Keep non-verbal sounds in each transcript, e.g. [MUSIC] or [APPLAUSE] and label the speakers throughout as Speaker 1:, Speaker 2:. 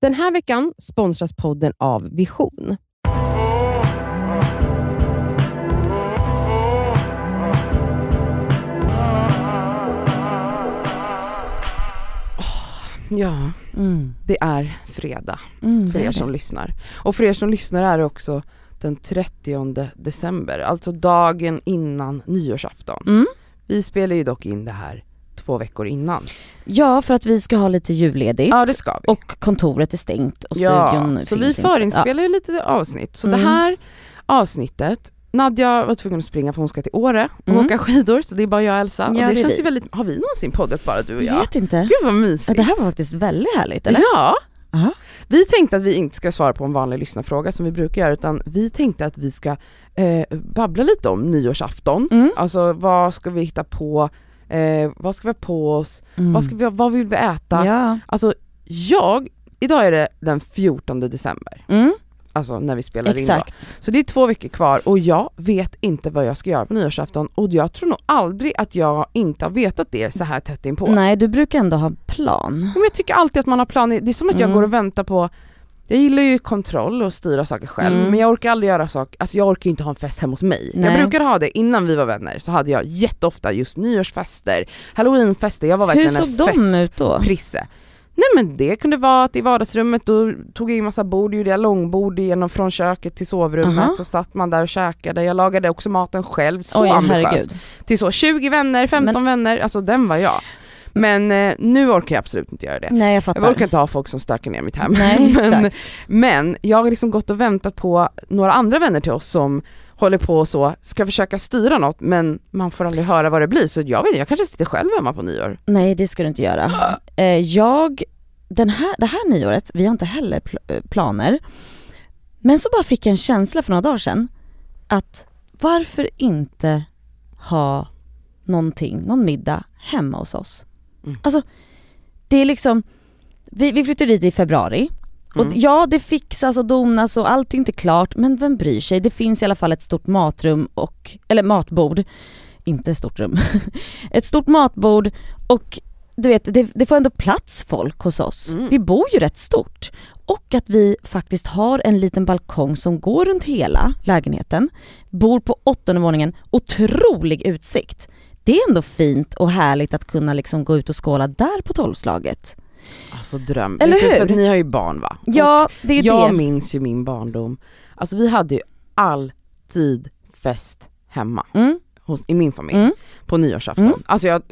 Speaker 1: Den här veckan sponsras podden av Vision. Ja,
Speaker 2: Mm.
Speaker 1: det är fredag
Speaker 2: Mm,
Speaker 1: för
Speaker 2: det är
Speaker 1: er
Speaker 2: det.
Speaker 1: som lyssnar. Och för er som lyssnar är det också den 30 december, alltså dagen innan nyårsafton.
Speaker 2: Mm.
Speaker 1: Vi spelar ju dock in det här två veckor innan.
Speaker 2: Ja, för att vi ska ha lite julledigt.
Speaker 1: Ja, det ska vi.
Speaker 2: Och kontoret är stängt och studion
Speaker 1: Ja,
Speaker 2: finns
Speaker 1: så vi
Speaker 2: inte.
Speaker 1: förinspelar ju lite avsnitt. Så det
Speaker 2: Mm.
Speaker 1: här avsnittet, Nadja var tvungen att springa för hon ska till Åre och
Speaker 2: Mm.
Speaker 1: åka skidor, så det är bara jag och Elsa.
Speaker 2: Ja,
Speaker 1: och
Speaker 2: det
Speaker 1: det
Speaker 2: är
Speaker 1: känns
Speaker 2: vi.
Speaker 1: ju väldigt, har vi någonsin poddat bara du och
Speaker 2: Ja. Jag
Speaker 1: jag?
Speaker 2: vet inte.
Speaker 1: Gud vad
Speaker 2: Ja,
Speaker 1: mysigt.
Speaker 2: det här var faktiskt väldigt härligt eller?
Speaker 1: Ja.
Speaker 2: Ja.
Speaker 1: Vi tänkte att vi inte ska svara på en vanlig lyssnarfråga som vi brukar göra, utan vi tänkte att vi ska eh, babbla lite om nyårsafton.
Speaker 2: Mm.
Speaker 1: Alltså vad ska vi hitta på, eh, vad ska vi ha på oss,
Speaker 2: Mm.
Speaker 1: vad, ska vi, vad vill vi äta?
Speaker 2: Ja.
Speaker 1: Alltså jag, idag är det den 14 december
Speaker 2: Mm.
Speaker 1: alltså när vi spelar in då.
Speaker 2: Exakt.
Speaker 1: Så det är två veckor kvar och jag vet inte vad jag ska göra på nyårsafton och jag tror nog aldrig att jag inte har vetat det så här tätt inpå. Nej.
Speaker 2: Nej, du brukar ändå ha en plan.
Speaker 1: Men jag tycker alltid att man har planer, det är som att jag
Speaker 2: Mm.
Speaker 1: går och väntar på jag gillar ju kontroll och styra saker själv
Speaker 2: Mm.
Speaker 1: men jag orkar aldrig göra saker, alltså jag orkar ju inte ha en fest hemma hos mig. Jag
Speaker 2: Nej.
Speaker 1: brukar ha det, innan vi var vänner så hade jag jätteofta just nyårsfester, halloweenfester, jag var
Speaker 2: Hur
Speaker 1: verkligen
Speaker 2: såg
Speaker 1: en
Speaker 2: de ut då?
Speaker 1: festprisse. Nej men det kunde vara att i vardagsrummet då tog jag in massa bord, gjorde jag långbord genom från köket till sovrummet,
Speaker 2: Aha.
Speaker 1: så satt man där och käkade, jag lagade också maten själv, så
Speaker 2: Oj,
Speaker 1: ambitiöst.
Speaker 2: herregud.
Speaker 1: Till så 20 vänner, 15 vänner, alltså den var jag. Men eh, nu orkar jag absolut inte göra det.
Speaker 2: Nej, jag
Speaker 1: Jag
Speaker 2: fattar.
Speaker 1: orkar inte ha folk som stökar ner mitt hem.
Speaker 2: Nej,
Speaker 1: [LAUGHS] men,
Speaker 2: exakt.
Speaker 1: men jag har liksom gått och väntat på några andra vänner till oss som håller på och så, ska försöka styra något men man får aldrig höra vad det blir så jag vet inte, jag kanske sitter själv hemma på nyår.
Speaker 2: Nej, det ska du inte göra. Eh, jag, den här, det här nyåret, vi har inte heller pl- eh, planer. Men så bara fick jag en känsla för några dagar sedan att varför inte ha någonting, någon middag hemma hos oss?
Speaker 1: Mm.
Speaker 2: Alltså, det är liksom, vi, vi flyttade dit i februari och
Speaker 1: Mm.
Speaker 2: ja det fixas och donas och allt är inte klart men vem bryr sig? Det finns i alla fall ett stort matrum och, eller matbord, inte stort rum, [LAUGHS] ett stort matbord och du vet, det, det får ändå plats folk hos oss.
Speaker 1: Mm.
Speaker 2: Vi bor ju rätt stort. Och att vi faktiskt har en liten balkong som går runt hela lägenheten, bor på åttonde våningen, otrolig utsikt. Det är ändå fint och härligt att kunna liksom gå ut och skåla där på tolvslaget.
Speaker 1: Alltså dröm.
Speaker 2: Eller
Speaker 1: Vet du, För
Speaker 2: hur?
Speaker 1: att ni har ju barn va?
Speaker 2: Ja, det är ju
Speaker 1: jag
Speaker 2: det.
Speaker 1: minns ju min barndom. Alltså vi hade ju alltid fest hemma
Speaker 2: Mm.
Speaker 1: hos, i min familj
Speaker 2: Mm.
Speaker 1: på nyårsafton.
Speaker 2: Mm.
Speaker 1: Alltså jag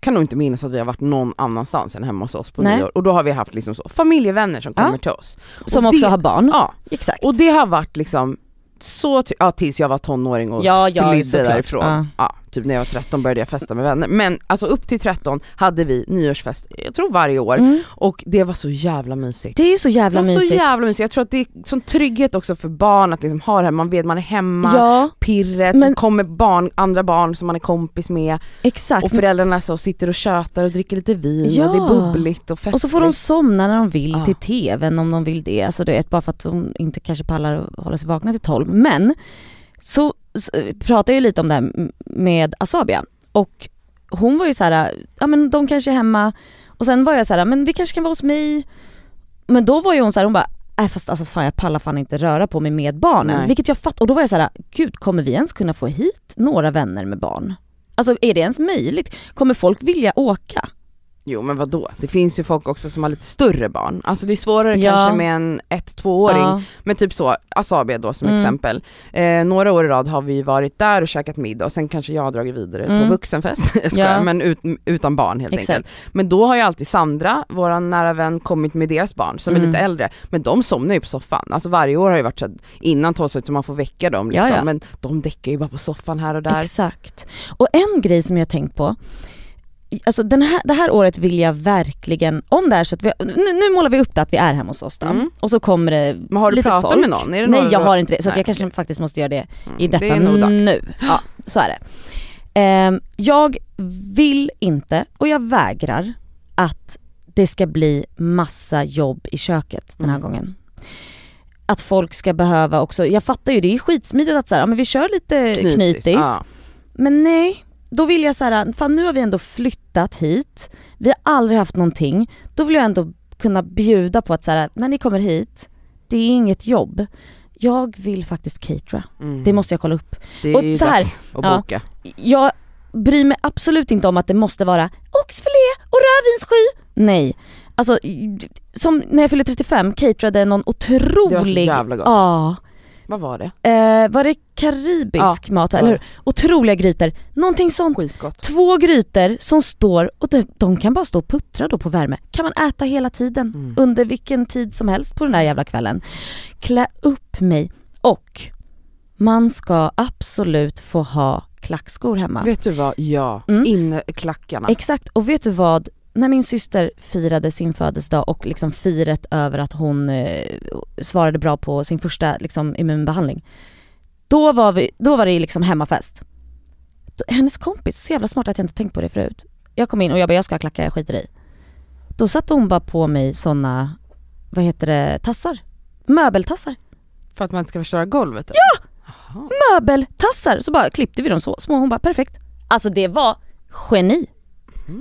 Speaker 1: kan nog inte minnas att vi har varit någon annanstans än hemma hos oss på
Speaker 2: Nej.
Speaker 1: nyår. Och då har vi haft liksom så, familjevänner som
Speaker 2: Ja.
Speaker 1: kommer till oss.
Speaker 2: Som
Speaker 1: Och
Speaker 2: också
Speaker 1: det-
Speaker 2: har barn.
Speaker 1: Ja,
Speaker 2: Exakt.
Speaker 1: och det har varit liksom så, ty- ja tills jag var tonåring och
Speaker 2: Ja, ja,
Speaker 1: flydde
Speaker 2: såklart.
Speaker 1: därifrån.
Speaker 2: Ja.
Speaker 1: Ja, typ när jag var 13 började jag festa med vänner. Men alltså upp till 13 hade vi nyårsfest, jag tror varje år.
Speaker 2: Mm.
Speaker 1: Och det var så jävla mysigt.
Speaker 2: Det är ju så jävla
Speaker 1: Det var
Speaker 2: mysigt.
Speaker 1: så jävla mysigt. Jag tror att det är sån trygghet också för barn att liksom ha det här, man vet man är hemma,
Speaker 2: ja,
Speaker 1: pirret,
Speaker 2: Men-
Speaker 1: så kommer barn, andra barn som man är kompis med
Speaker 2: exakt.
Speaker 1: och föräldrarna så sitter och tjötar och dricker lite vin
Speaker 2: Ja.
Speaker 1: och det är bubbligt och festligt.
Speaker 2: Och så får de somna när de vill
Speaker 1: Ja.
Speaker 2: till tvn om de vill det. Alltså du vet, bara för att de inte kanske pallar att hålla sig vakna till 12. Men så, så pratar jag ju lite om det här m- med Asabia och hon var ju så här, ja men de kanske är hemma och sen var jag så här, men vi kanske kan vara hos mig. Men då var ju hon så här, hon bara, nej fast alltså fan jag pallar fan inte röra på mig med barnen.
Speaker 1: Nej.
Speaker 2: Vilket jag fattar, och då var jag så här, gud kommer vi ens kunna få hit några vänner med barn? Alltså är det ens möjligt? Kommer folk vilja åka?
Speaker 1: Jo men vadå, det finns ju folk också som har lite större barn. Alltså det är svårare
Speaker 2: Ja.
Speaker 1: kanske med en ett tvååring
Speaker 2: Ja.
Speaker 1: Men typ så, Asabia då som
Speaker 2: Mm.
Speaker 1: exempel. Eh, några år i rad har vi varit där och käkat middag och sen kanske jag har dragit vidare på
Speaker 2: Mm.
Speaker 1: vuxenfest, [LAUGHS] jag skojar,
Speaker 2: Ja.
Speaker 1: men ut, utan barn helt
Speaker 2: Exakt.
Speaker 1: enkelt. Men då har ju alltid Sandra, vår nära vän, kommit med deras barn som är
Speaker 2: Mm.
Speaker 1: lite äldre, men de somnar ju på soffan. Alltså varje år har ju varit så att innan tolvslaget så man får väcka dem liksom,
Speaker 2: Ja, ja.
Speaker 1: men de däckar ju bara på soffan här och där.
Speaker 2: Exakt. Och en grej som jag tänkt på, alltså den här, det här året vill jag verkligen, om det är så att vi, nu, nu målar vi upp det att vi är hemma hos oss då,
Speaker 1: Mm.
Speaker 2: och så kommer det
Speaker 1: men har du
Speaker 2: lite
Speaker 1: pratat
Speaker 2: folk.
Speaker 1: med någon? Är det
Speaker 2: Nej
Speaker 1: någon
Speaker 2: jag
Speaker 1: du-
Speaker 2: har inte det, så att
Speaker 1: Nej,
Speaker 2: jag kanske faktiskt måste göra det
Speaker 1: Mm,
Speaker 2: i detta
Speaker 1: det är nog dags.
Speaker 2: nu. Ja, så är det. Ehm, jag vill inte, och jag vägrar, att det ska bli massa jobb i köket den här
Speaker 1: Mm.
Speaker 2: gången. Att folk ska behöva också, jag fattar ju det är skitsmidigt att så här, ja, men vi kör lite knytis,
Speaker 1: ja.
Speaker 2: men nej, då vill jag så här, fan nu har vi ändå flyttat hit, vi har aldrig haft någonting, då vill jag ändå kunna bjuda på att så här, när ni kommer hit, det är inget jobb. Jag vill faktiskt catera.
Speaker 1: Mm.
Speaker 2: Det måste jag kolla upp.
Speaker 1: Det är
Speaker 2: och
Speaker 1: ju
Speaker 2: så här,
Speaker 1: dags att
Speaker 2: ja.
Speaker 1: boka.
Speaker 2: Jag bryr mig absolut inte om att det måste vara oxfilé och rödvinssky. Nej. Alltså, som när jag fyllde 35 caterade någon otrolig...
Speaker 1: Det var så jävla gott.
Speaker 2: Ja.
Speaker 1: Vad var det?
Speaker 2: Eh, var det karibisk mat?
Speaker 1: var
Speaker 2: Eller
Speaker 1: det.
Speaker 2: hur? Otroliga grytor. Någonting sånt.
Speaker 1: Skitgott.
Speaker 2: Två grytor som står och de, de kan bara stå och puttra då på värme. Kan man äta hela tiden
Speaker 1: Mm.
Speaker 2: under vilken tid som helst på den här jävla kvällen. Klä upp mig och man ska absolut få ha klackskor hemma.
Speaker 1: Vet du vad, ja,
Speaker 2: Mm.
Speaker 1: inneklackarna.
Speaker 2: Exakt, och vet du vad? När min syster firade sin födelsedag och liksom firet över att hon eh, svarade bra på sin första liksom, immunbehandling. Då var, vi, då var det liksom hemmafest. D- Hennes kompis, så jävla smart att jag inte tänkt på det förut. Jag kom in och jag bara jag ska ha klackar, jag skiter i. Då satte hon bara på mig såna, vad heter det, tassar. Möbeltassar.
Speaker 1: För att man inte ska förstöra golvet? Ja! Aha.
Speaker 2: Möbeltassar! Så bara klippte vi dem så små, hon bara perfekt. Alltså det var geni.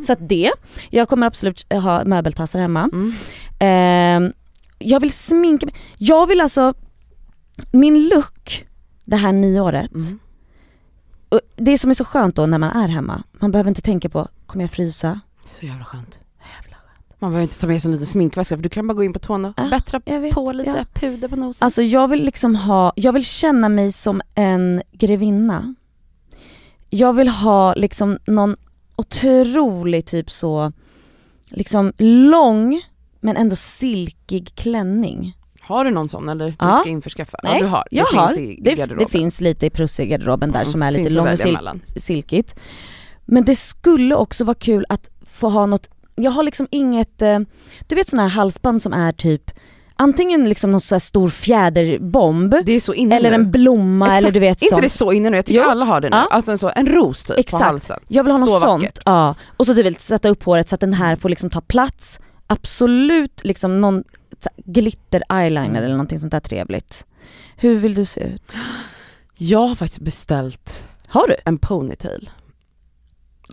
Speaker 2: Så att det, jag kommer absolut ha möbeltassar hemma.
Speaker 1: Mm.
Speaker 2: Ehm, jag vill sminka mig. Jag vill alltså, min look det här nyåret,
Speaker 1: Mm.
Speaker 2: och det som är så skönt då när man är hemma, man behöver inte tänka på, kommer jag frysa?
Speaker 1: Så jävla skönt. Man behöver inte ta med sig en liten sminkväska för du kan bara gå in på tån och
Speaker 2: Ja,
Speaker 1: bättra
Speaker 2: Jag vet.
Speaker 1: på lite,
Speaker 2: Ah. ja.
Speaker 1: puder på nosen.
Speaker 2: Alltså jag vill liksom ha, jag vill känna mig som en grevinna. Jag vill ha liksom någon otrolig typ så, liksom lång men ändå silkig klänning.
Speaker 1: har du någon sån eller
Speaker 2: Ja.
Speaker 1: du ska införskaffa?
Speaker 2: Nej,
Speaker 1: ja, du har.
Speaker 2: Jag
Speaker 1: det
Speaker 2: har,
Speaker 1: finns i
Speaker 2: det,
Speaker 1: garderoben.
Speaker 2: det finns lite i Pruss i garderoben där
Speaker 1: Mm,
Speaker 2: som är lite
Speaker 1: finns att
Speaker 2: lång och
Speaker 1: välja
Speaker 2: sil-
Speaker 1: mellan.
Speaker 2: silkigt. Men det skulle också vara kul att få ha något, jag har liksom inget, eh, du vet sådana här halsband som är typ antingen liksom någon så här stor fjäderbomb
Speaker 1: Det är så inne
Speaker 2: eller
Speaker 1: nu.
Speaker 2: en blomma
Speaker 1: Exakt.
Speaker 2: eller du vet
Speaker 1: inte
Speaker 2: sånt.
Speaker 1: det så inne nu? Jag tycker
Speaker 2: Jo.
Speaker 1: alla har det nu.
Speaker 2: Ja.
Speaker 1: Alltså en, så, en ros typ
Speaker 2: Exakt.
Speaker 1: på halsen.
Speaker 2: Jag vill ha något
Speaker 1: Så
Speaker 2: sånt.
Speaker 1: vackert.
Speaker 2: Ja. Och så du vill sätta upp håret så att den här får liksom ta plats. Absolut liksom någon så här glitter eyeliner
Speaker 1: Mm.
Speaker 2: eller någonting sånt där trevligt. Hur vill du se ut?
Speaker 1: Jag har faktiskt beställt
Speaker 2: Har du?
Speaker 1: en ponytail.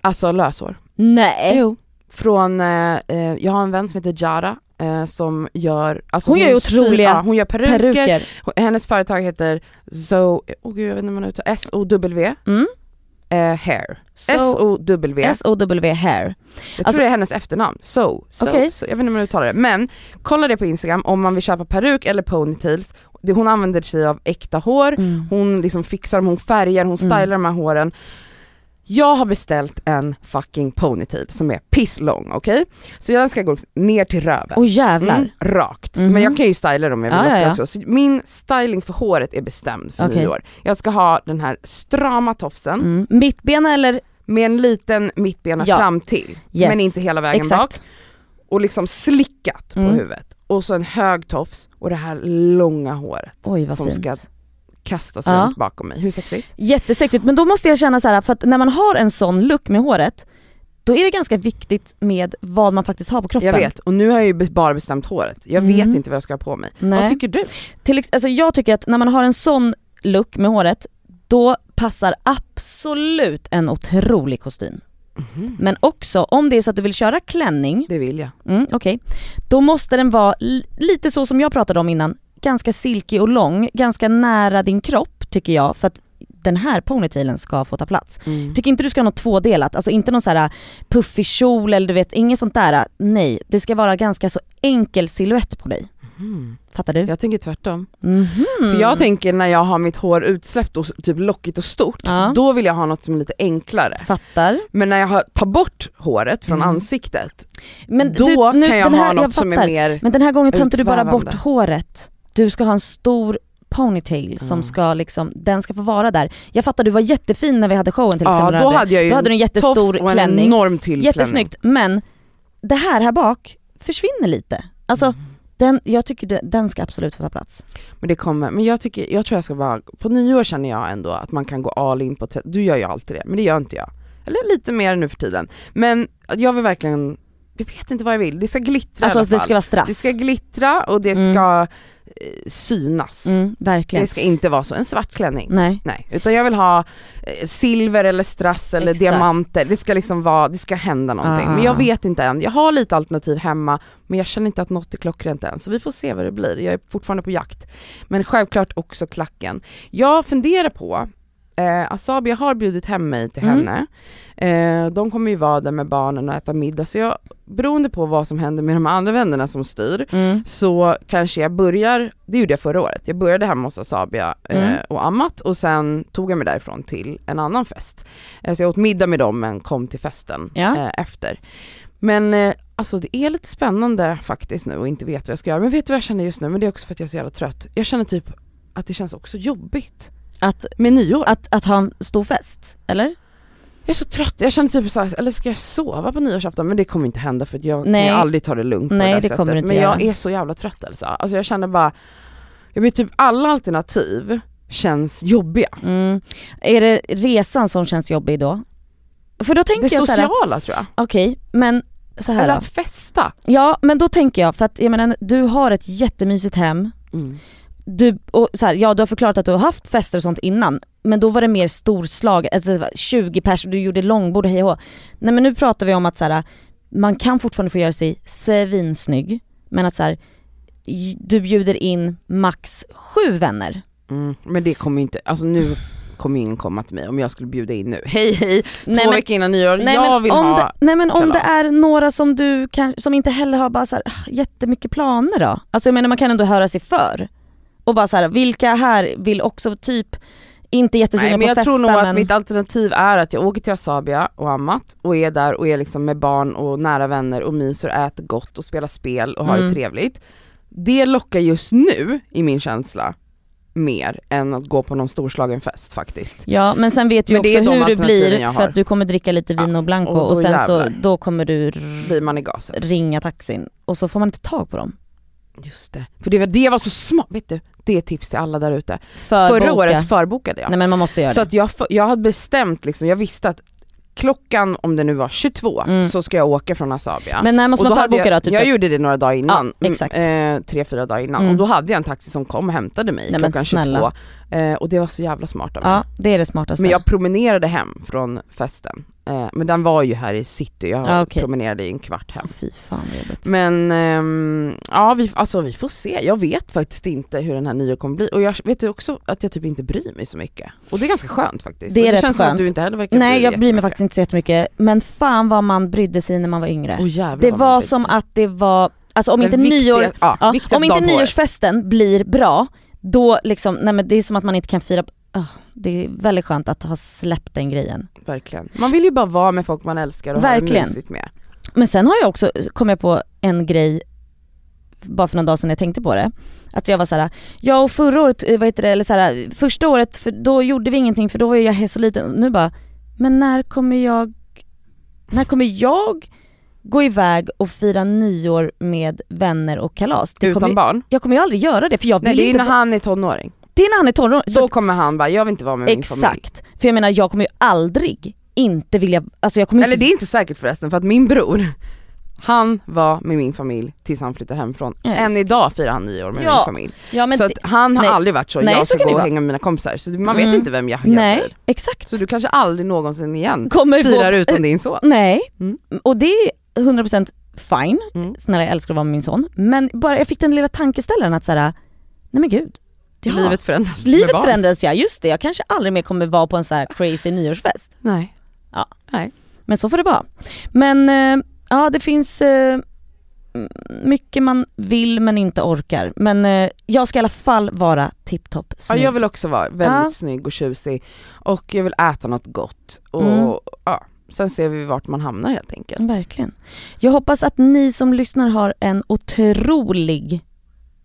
Speaker 1: Alltså löshår.
Speaker 2: Nej.
Speaker 1: Jo. Eh, Från, eh, eh, jag har en vän som heter Jara eh, som gör, alltså
Speaker 2: Hon gör ju
Speaker 1: syr-
Speaker 2: otroliga
Speaker 1: ja, hon gör peruker,
Speaker 2: Peruker.
Speaker 1: Hon- hennes företag heter Zoe, oh gud jag vet inte hur man uttalar, S-O-W
Speaker 2: Mm.
Speaker 1: eh, hair.
Speaker 2: So,
Speaker 1: S-O-W.
Speaker 2: S-O-W hair.
Speaker 1: Jag
Speaker 2: Alltså-
Speaker 1: tror det är hennes efternamn, so, so,
Speaker 2: Okej.
Speaker 1: so. Jag vet inte hur man uttalar det. Men kolla det på instagram om man vill köpa peruk eller ponytails. Det- Hon använder sig av äkta hår, hon liksom fixar dem, hon färgar, hon
Speaker 2: Mm.
Speaker 1: stylar de här håren. Jag har beställt en fucking ponytail som är pisslång, okej? Så den ska gå ner till röven.
Speaker 2: Och jävlar.
Speaker 1: Mm, rakt.
Speaker 2: Mhm.
Speaker 1: Men jag kan ju styla dem om jag vill
Speaker 2: Ja,
Speaker 1: locka
Speaker 2: ja, ja.
Speaker 1: också. Så min styling för håret är bestämd för
Speaker 2: Okej.
Speaker 1: nyår. Jag ska ha den här strama tofsen
Speaker 2: Mm. Mittbena eller?
Speaker 1: med en liten mittbena
Speaker 2: Ja.
Speaker 1: fram till
Speaker 2: Yes.
Speaker 1: men inte hela vägen bak
Speaker 2: Exakt.
Speaker 1: och liksom slickat
Speaker 2: Mm.
Speaker 1: på huvudet och så en hög tofs och det här långa håret
Speaker 2: Oj vad
Speaker 1: Som
Speaker 2: fint.
Speaker 1: ska- kastas
Speaker 2: Ja.
Speaker 1: runt bakom mig. Hur sexigt?
Speaker 2: Jättesexigt men då måste jag känna så här för att när man har en sån look med håret då är det ganska viktigt med vad man faktiskt har på kroppen.
Speaker 1: Jag vet, och nu har jag ju be- bara bestämt håret. Jag
Speaker 2: Mm.
Speaker 1: vet inte vad jag ska ha på mig.
Speaker 2: Nej.
Speaker 1: Vad tycker du?
Speaker 2: Till, ex- alltså jag tycker att när man har en sån look med håret då passar absolut en otrolig kostym. Men också om det är så att du vill köra klänning
Speaker 1: Det vill jag.
Speaker 2: Mm, Okej. Då måste den vara li- lite så som jag pratade om innan, ganska silkig och lång, ganska nära din kropp tycker jag för att den här ponytailen ska få ta plats. Tycker inte du ska ha något tvådelat, alltså inte någon så här puffig kjol eller du vet, inget sånt där. äh, Nej, det ska vara ganska så enkel silhuett på dig.
Speaker 1: Mhm.
Speaker 2: Fattar du?
Speaker 1: Jag tänker tvärtom.
Speaker 2: Mhm.
Speaker 1: För jag tänker när jag har mitt hår utsläppt och s- typ lockigt och stort,
Speaker 2: Ja.
Speaker 1: då vill jag ha något som är lite enklare.
Speaker 2: Fattar.
Speaker 1: Men när jag har- tar bort håret från
Speaker 2: Mm.
Speaker 1: ansiktet,
Speaker 2: Men
Speaker 1: då
Speaker 2: du, nu,
Speaker 1: kan jag
Speaker 2: den här,
Speaker 1: ha något
Speaker 2: jag
Speaker 1: som är
Speaker 2: fattar.
Speaker 1: mer...
Speaker 2: Men den här gången tar inte du bara
Speaker 1: Utsvävande.
Speaker 2: bort håret. Du ska ha en stor ponytail som
Speaker 1: Mm.
Speaker 2: ska liksom, den ska få vara där. Jag fattar du var jättefin när vi hade showen till
Speaker 1: Ja,
Speaker 2: exempel.
Speaker 1: då hade jag ju
Speaker 2: då hade du en
Speaker 1: en tofs
Speaker 2: jättestor
Speaker 1: och en
Speaker 2: klänning.
Speaker 1: enorm till klänning.
Speaker 2: Jättesnyggt men det här här bak försvinner lite. Alltså
Speaker 1: Mm.
Speaker 2: den, jag tycker det, den ska absolut få ta plats.
Speaker 1: Men det kommer, men jag tycker, jag tror jag ska vara, på nyår känner jag ändå att man kan gå all in på, ett sätt. du gör ju alltid det, men det gör inte jag. Eller lite mer nu för tiden. Men jag vill verkligen, jag vet inte vad jag vill, det ska glittra i
Speaker 2: Alltså
Speaker 1: alla fall.
Speaker 2: det ska vara strass.
Speaker 1: det ska glittra och det
Speaker 2: Mm.
Speaker 1: ska eh, synas.
Speaker 2: Mm, verkligen.
Speaker 1: Det ska inte vara så, en svart klänning.
Speaker 2: Nej.
Speaker 1: Nej, utan jag vill ha eh, silver eller strass eller
Speaker 2: Exakt.
Speaker 1: diamanter. Det ska liksom vara, det ska hända någonting.
Speaker 2: Ah.
Speaker 1: Men jag vet inte än. Jag har lite alternativ hemma men jag känner inte att något är klockrent än. Så vi får se vad det blir. Jag är fortfarande på jakt. Men självklart också klacken. Jag funderar på, eh, Asabia har bjudit hem mig till
Speaker 2: Mm.
Speaker 1: henne. Eh, de kommer ju vara där med barnen och äta middag. Så jag, beroende på vad som händer med de andra vännerna som styr,
Speaker 2: Mm.
Speaker 1: så kanske jag börjar, det gjorde jag förra året, jag började hemma hos Asabia eh,
Speaker 2: Mm.
Speaker 1: och ammat och sen tog jag mig därifrån till en annan fest. Eh, så jag åt middag med dem men kom till festen
Speaker 2: Ja.
Speaker 1: eh, efter. Men eh, alltså det är lite spännande faktiskt nu och inte vet vad jag ska göra. Men vet du vad jag känner just nu? Men det är också för att jag är så jävla trött. Jag känner typ att det känns också jobbigt
Speaker 2: Att,
Speaker 1: med nyår.
Speaker 2: att, att ha en stor fest, eller?
Speaker 1: Jag är så trött, jag känner typ såhär, eller ska jag sova på nyårsafton? Men det kommer inte hända för att jag kan
Speaker 2: Nej.
Speaker 1: ju aldrig ta det lugnt på
Speaker 2: Nej,
Speaker 1: det, där
Speaker 2: det
Speaker 1: sättet.
Speaker 2: kommer du inte
Speaker 1: Men jag
Speaker 2: göra.
Speaker 1: är så jävla trött Elsa. Alltså jag känner bara, jag blir typ alla alternativ känns jobbiga.
Speaker 2: Mm. Är det resan som känns jobbig då? För då tänker
Speaker 1: Det
Speaker 2: jag såhär,
Speaker 1: sociala tror jag.
Speaker 2: okej men så här
Speaker 1: Eller
Speaker 2: då.
Speaker 1: att festa.
Speaker 2: Ja men då tänker jag, för att jag menar du har ett jättemysigt hem,
Speaker 1: Mm.
Speaker 2: du, och så här, ja du har förklarat att du har haft fester och sånt innan, men då var det mer storslag, alltså det var 20 pers och du gjorde långbord och hej och hå. Nej men nu pratar vi om att så här, man kan fortfarande få göra sig svinsnygg, men att så här, j- du bjuder in max sju vänner.
Speaker 1: Mm. Men det kommer ju inte, alltså nu kommer ju ingen komma till mig om jag skulle bjuda in nu. Hej hej, två
Speaker 2: Nej, men-
Speaker 1: veckor innan nyår,
Speaker 2: Nej,
Speaker 1: Alltså, jag
Speaker 2: men
Speaker 1: vill
Speaker 2: om
Speaker 1: ha
Speaker 2: det, nej men om det
Speaker 1: kalas.
Speaker 2: är några som du kan, som inte heller har bara så här, ah, jättemycket planer då? Alltså jag menar man kan ändå höra sig för. Och bara så här, vilka här vill också typ, inte jättesugna
Speaker 1: Nej men
Speaker 2: på
Speaker 1: jag
Speaker 2: att festa
Speaker 1: tror nog att
Speaker 2: men...
Speaker 1: mitt alternativ är att jag åker till Asabia och ammat och är där och är liksom med barn och nära vänner och myser och äter gott och spelar spel och har det
Speaker 2: Mm.
Speaker 1: trevligt. Det lockar just nu i min känsla mer än att gå på någon storslagen fest faktiskt.
Speaker 2: Ja men sen vet du ju
Speaker 1: Men det är
Speaker 2: också
Speaker 1: de
Speaker 2: hur du
Speaker 1: alternativen
Speaker 2: blir
Speaker 1: jag
Speaker 2: för
Speaker 1: har.
Speaker 2: att du kommer dricka lite vin och blanco
Speaker 1: och då
Speaker 2: och, sen så
Speaker 1: jävlar.
Speaker 2: då kommer du r-
Speaker 1: Blir man i gasen.
Speaker 2: ringa taxin och så får man inte tag på dem.
Speaker 1: Just det. För det var, det var så smart, vet du? Det är ett tips till alla där ute.
Speaker 2: Förboka.
Speaker 1: Förra året förbokade jag.
Speaker 2: Nej men man måste göra
Speaker 1: Så
Speaker 2: det.
Speaker 1: att jag, f- jag hade bestämt liksom, jag visste att klockan, om det nu var 22,
Speaker 2: Mm.
Speaker 1: så ska jag åka från Asabia.
Speaker 2: Men när måste
Speaker 1: Och
Speaker 2: man
Speaker 1: hade
Speaker 2: förboka då?
Speaker 1: jag,
Speaker 2: Typ
Speaker 1: jag
Speaker 2: så-
Speaker 1: gjorde det några dagar innan,
Speaker 2: Ja, exakt.
Speaker 1: Mm, eh, tre, fyra dagar innan
Speaker 2: Mm.
Speaker 1: och då hade jag en taxi som kom och hämtade mig
Speaker 2: Nej, men
Speaker 1: klockan
Speaker 2: snälla.
Speaker 1: 22 eh, och det var så jävla smart av mig.
Speaker 2: ja det är det smartaste.
Speaker 1: Men jag promenerade hem från festen, eh, men den var ju här i city, jag
Speaker 2: Ja, okej.
Speaker 1: promenerade i en kvart hem.
Speaker 2: Fy fan vad jobbigt.
Speaker 1: Men ehm, ja, vi, alltså, vi får se. Jag vet faktiskt inte hur den här nya kommer bli och jag vet ju också att jag typ inte bryr mig så mycket. Och det är ganska skönt faktiskt.
Speaker 2: Det är
Speaker 1: Och
Speaker 2: rätt
Speaker 1: känns som att
Speaker 2: skönt.
Speaker 1: du inte heller verkar
Speaker 2: Nej jag bryr mig
Speaker 1: jättemycket.
Speaker 2: faktiskt inte så jättemycket men fan vad man brydde sig när man var yngre.
Speaker 1: Åh, jävlar,
Speaker 2: det
Speaker 1: vad man
Speaker 2: var
Speaker 1: bryr sig.
Speaker 2: som att det var, alltså om
Speaker 1: Den
Speaker 2: inte
Speaker 1: viktiga-
Speaker 2: nyår
Speaker 1: ja,
Speaker 2: Ja,
Speaker 1: viktigaste
Speaker 2: om inte
Speaker 1: dagen på året.
Speaker 2: nyårsfesten blir bra, då liksom, nej men det är som att man inte kan fira, Ah, det är väldigt skönt att ha släppt den grejen.
Speaker 1: Verkligen. Man vill ju bara vara med folk man älskar och ha det
Speaker 2: Verkligen.
Speaker 1: mysigt med.
Speaker 2: Men sen har jag också, kom jag på en grej, bara för någon dag sedan när jag tänkte på det. Att jag var såhär, ja och förra året, eh, vad heter det, eller såhär, första året, för då gjorde vi ingenting för då var ju jag så liten. Nu bara, men när kommer jag, när kommer jag gå iväg och fira nyår med vänner och kalas? Det
Speaker 1: Utan
Speaker 2: kommer, ju-
Speaker 1: barn.
Speaker 2: jag kommer ju aldrig göra det för jag vill
Speaker 1: Nej det är
Speaker 2: inte,
Speaker 1: när han är tonåring.
Speaker 2: det är när han är tonåring. Så
Speaker 1: Då kommer han bara, jag vill inte vara med min familj.
Speaker 2: Exakt, för jag menar jag kommer ju aldrig inte vilja, alltså jag kommer
Speaker 1: Eller
Speaker 2: inte,
Speaker 1: det är inte säkert förresten för att min bror, han var med min familj tills han flyttade hemifrån.
Speaker 2: Jag
Speaker 1: Än
Speaker 2: älskar.
Speaker 1: idag firar han nyår med
Speaker 2: Ja,
Speaker 1: min familj.
Speaker 2: ja men
Speaker 1: så att
Speaker 2: det,
Speaker 1: han har
Speaker 2: nej.
Speaker 1: aldrig varit så,
Speaker 2: Nej,
Speaker 1: jag
Speaker 2: så
Speaker 1: ska
Speaker 2: kan
Speaker 1: gå
Speaker 2: det
Speaker 1: och
Speaker 2: vara.
Speaker 1: hänga med mina kompisar. Så man vet
Speaker 2: Mm.
Speaker 1: inte vem jag jag
Speaker 2: nej
Speaker 1: blir.
Speaker 2: exakt.
Speaker 1: Så du kanske aldrig någonsin igen
Speaker 2: kommer
Speaker 1: firar
Speaker 2: gå,
Speaker 1: utan din
Speaker 2: [LAUGHS]
Speaker 1: son.
Speaker 2: Nej,
Speaker 1: Mm.
Speaker 2: och det är 100% fine,
Speaker 1: Mm.
Speaker 2: snälla jag älskar att vara med min son, men bara jag fick den lilla tankeställaren att såhär, nej men gud, ja,
Speaker 1: Livet förändras med
Speaker 2: livet
Speaker 1: barn.
Speaker 2: förändras ja, just det, jag kanske aldrig mer kommer vara på en så här crazy nyårsfest.
Speaker 1: Nej.
Speaker 2: Ja.
Speaker 1: Nej.
Speaker 2: Men så får det vara. Men eh, ja det finns eh, m- mycket man vill men inte orkar. Men eh, jag ska i alla fall vara tipptopp
Speaker 1: Ja,
Speaker 2: snygg.
Speaker 1: jag vill också vara väldigt
Speaker 2: Ja.
Speaker 1: snygg och tjusig och jag vill äta något gott och
Speaker 2: Mm.
Speaker 1: ja, sen ser vi vart man hamnar helt enkelt.
Speaker 2: Verkligen. Jag hoppas att ni som lyssnar har en otrolig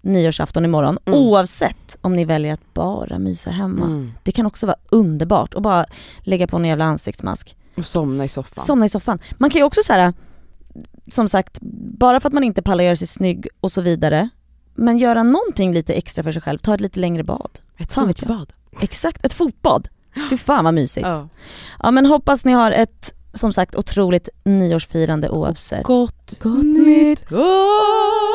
Speaker 2: nyårsafton imorgon
Speaker 1: Mm.
Speaker 2: oavsett om ni väljer att bara mysa hemma.
Speaker 1: Mm.
Speaker 2: Det kan också vara underbart och bara lägga på en jävla ansiktsmask.
Speaker 1: Och somna i soffan.
Speaker 2: Somna i soffan. Man kan ju också så här, som sagt, bara för att man inte pallar göra sig snygg och så vidare, men göra någonting lite extra för sig själv, ta ett lite längre bad.
Speaker 1: Ett
Speaker 2: Fan vet jag.
Speaker 1: fotbad.
Speaker 2: Exakt, ett fotbad. Fy fan vad mysigt. Ja.
Speaker 1: Ja.
Speaker 2: men hoppas ni har ett, som sagt, otroligt nyårsfirande oavsett.
Speaker 1: Gott,
Speaker 2: Gott
Speaker 1: nytt år!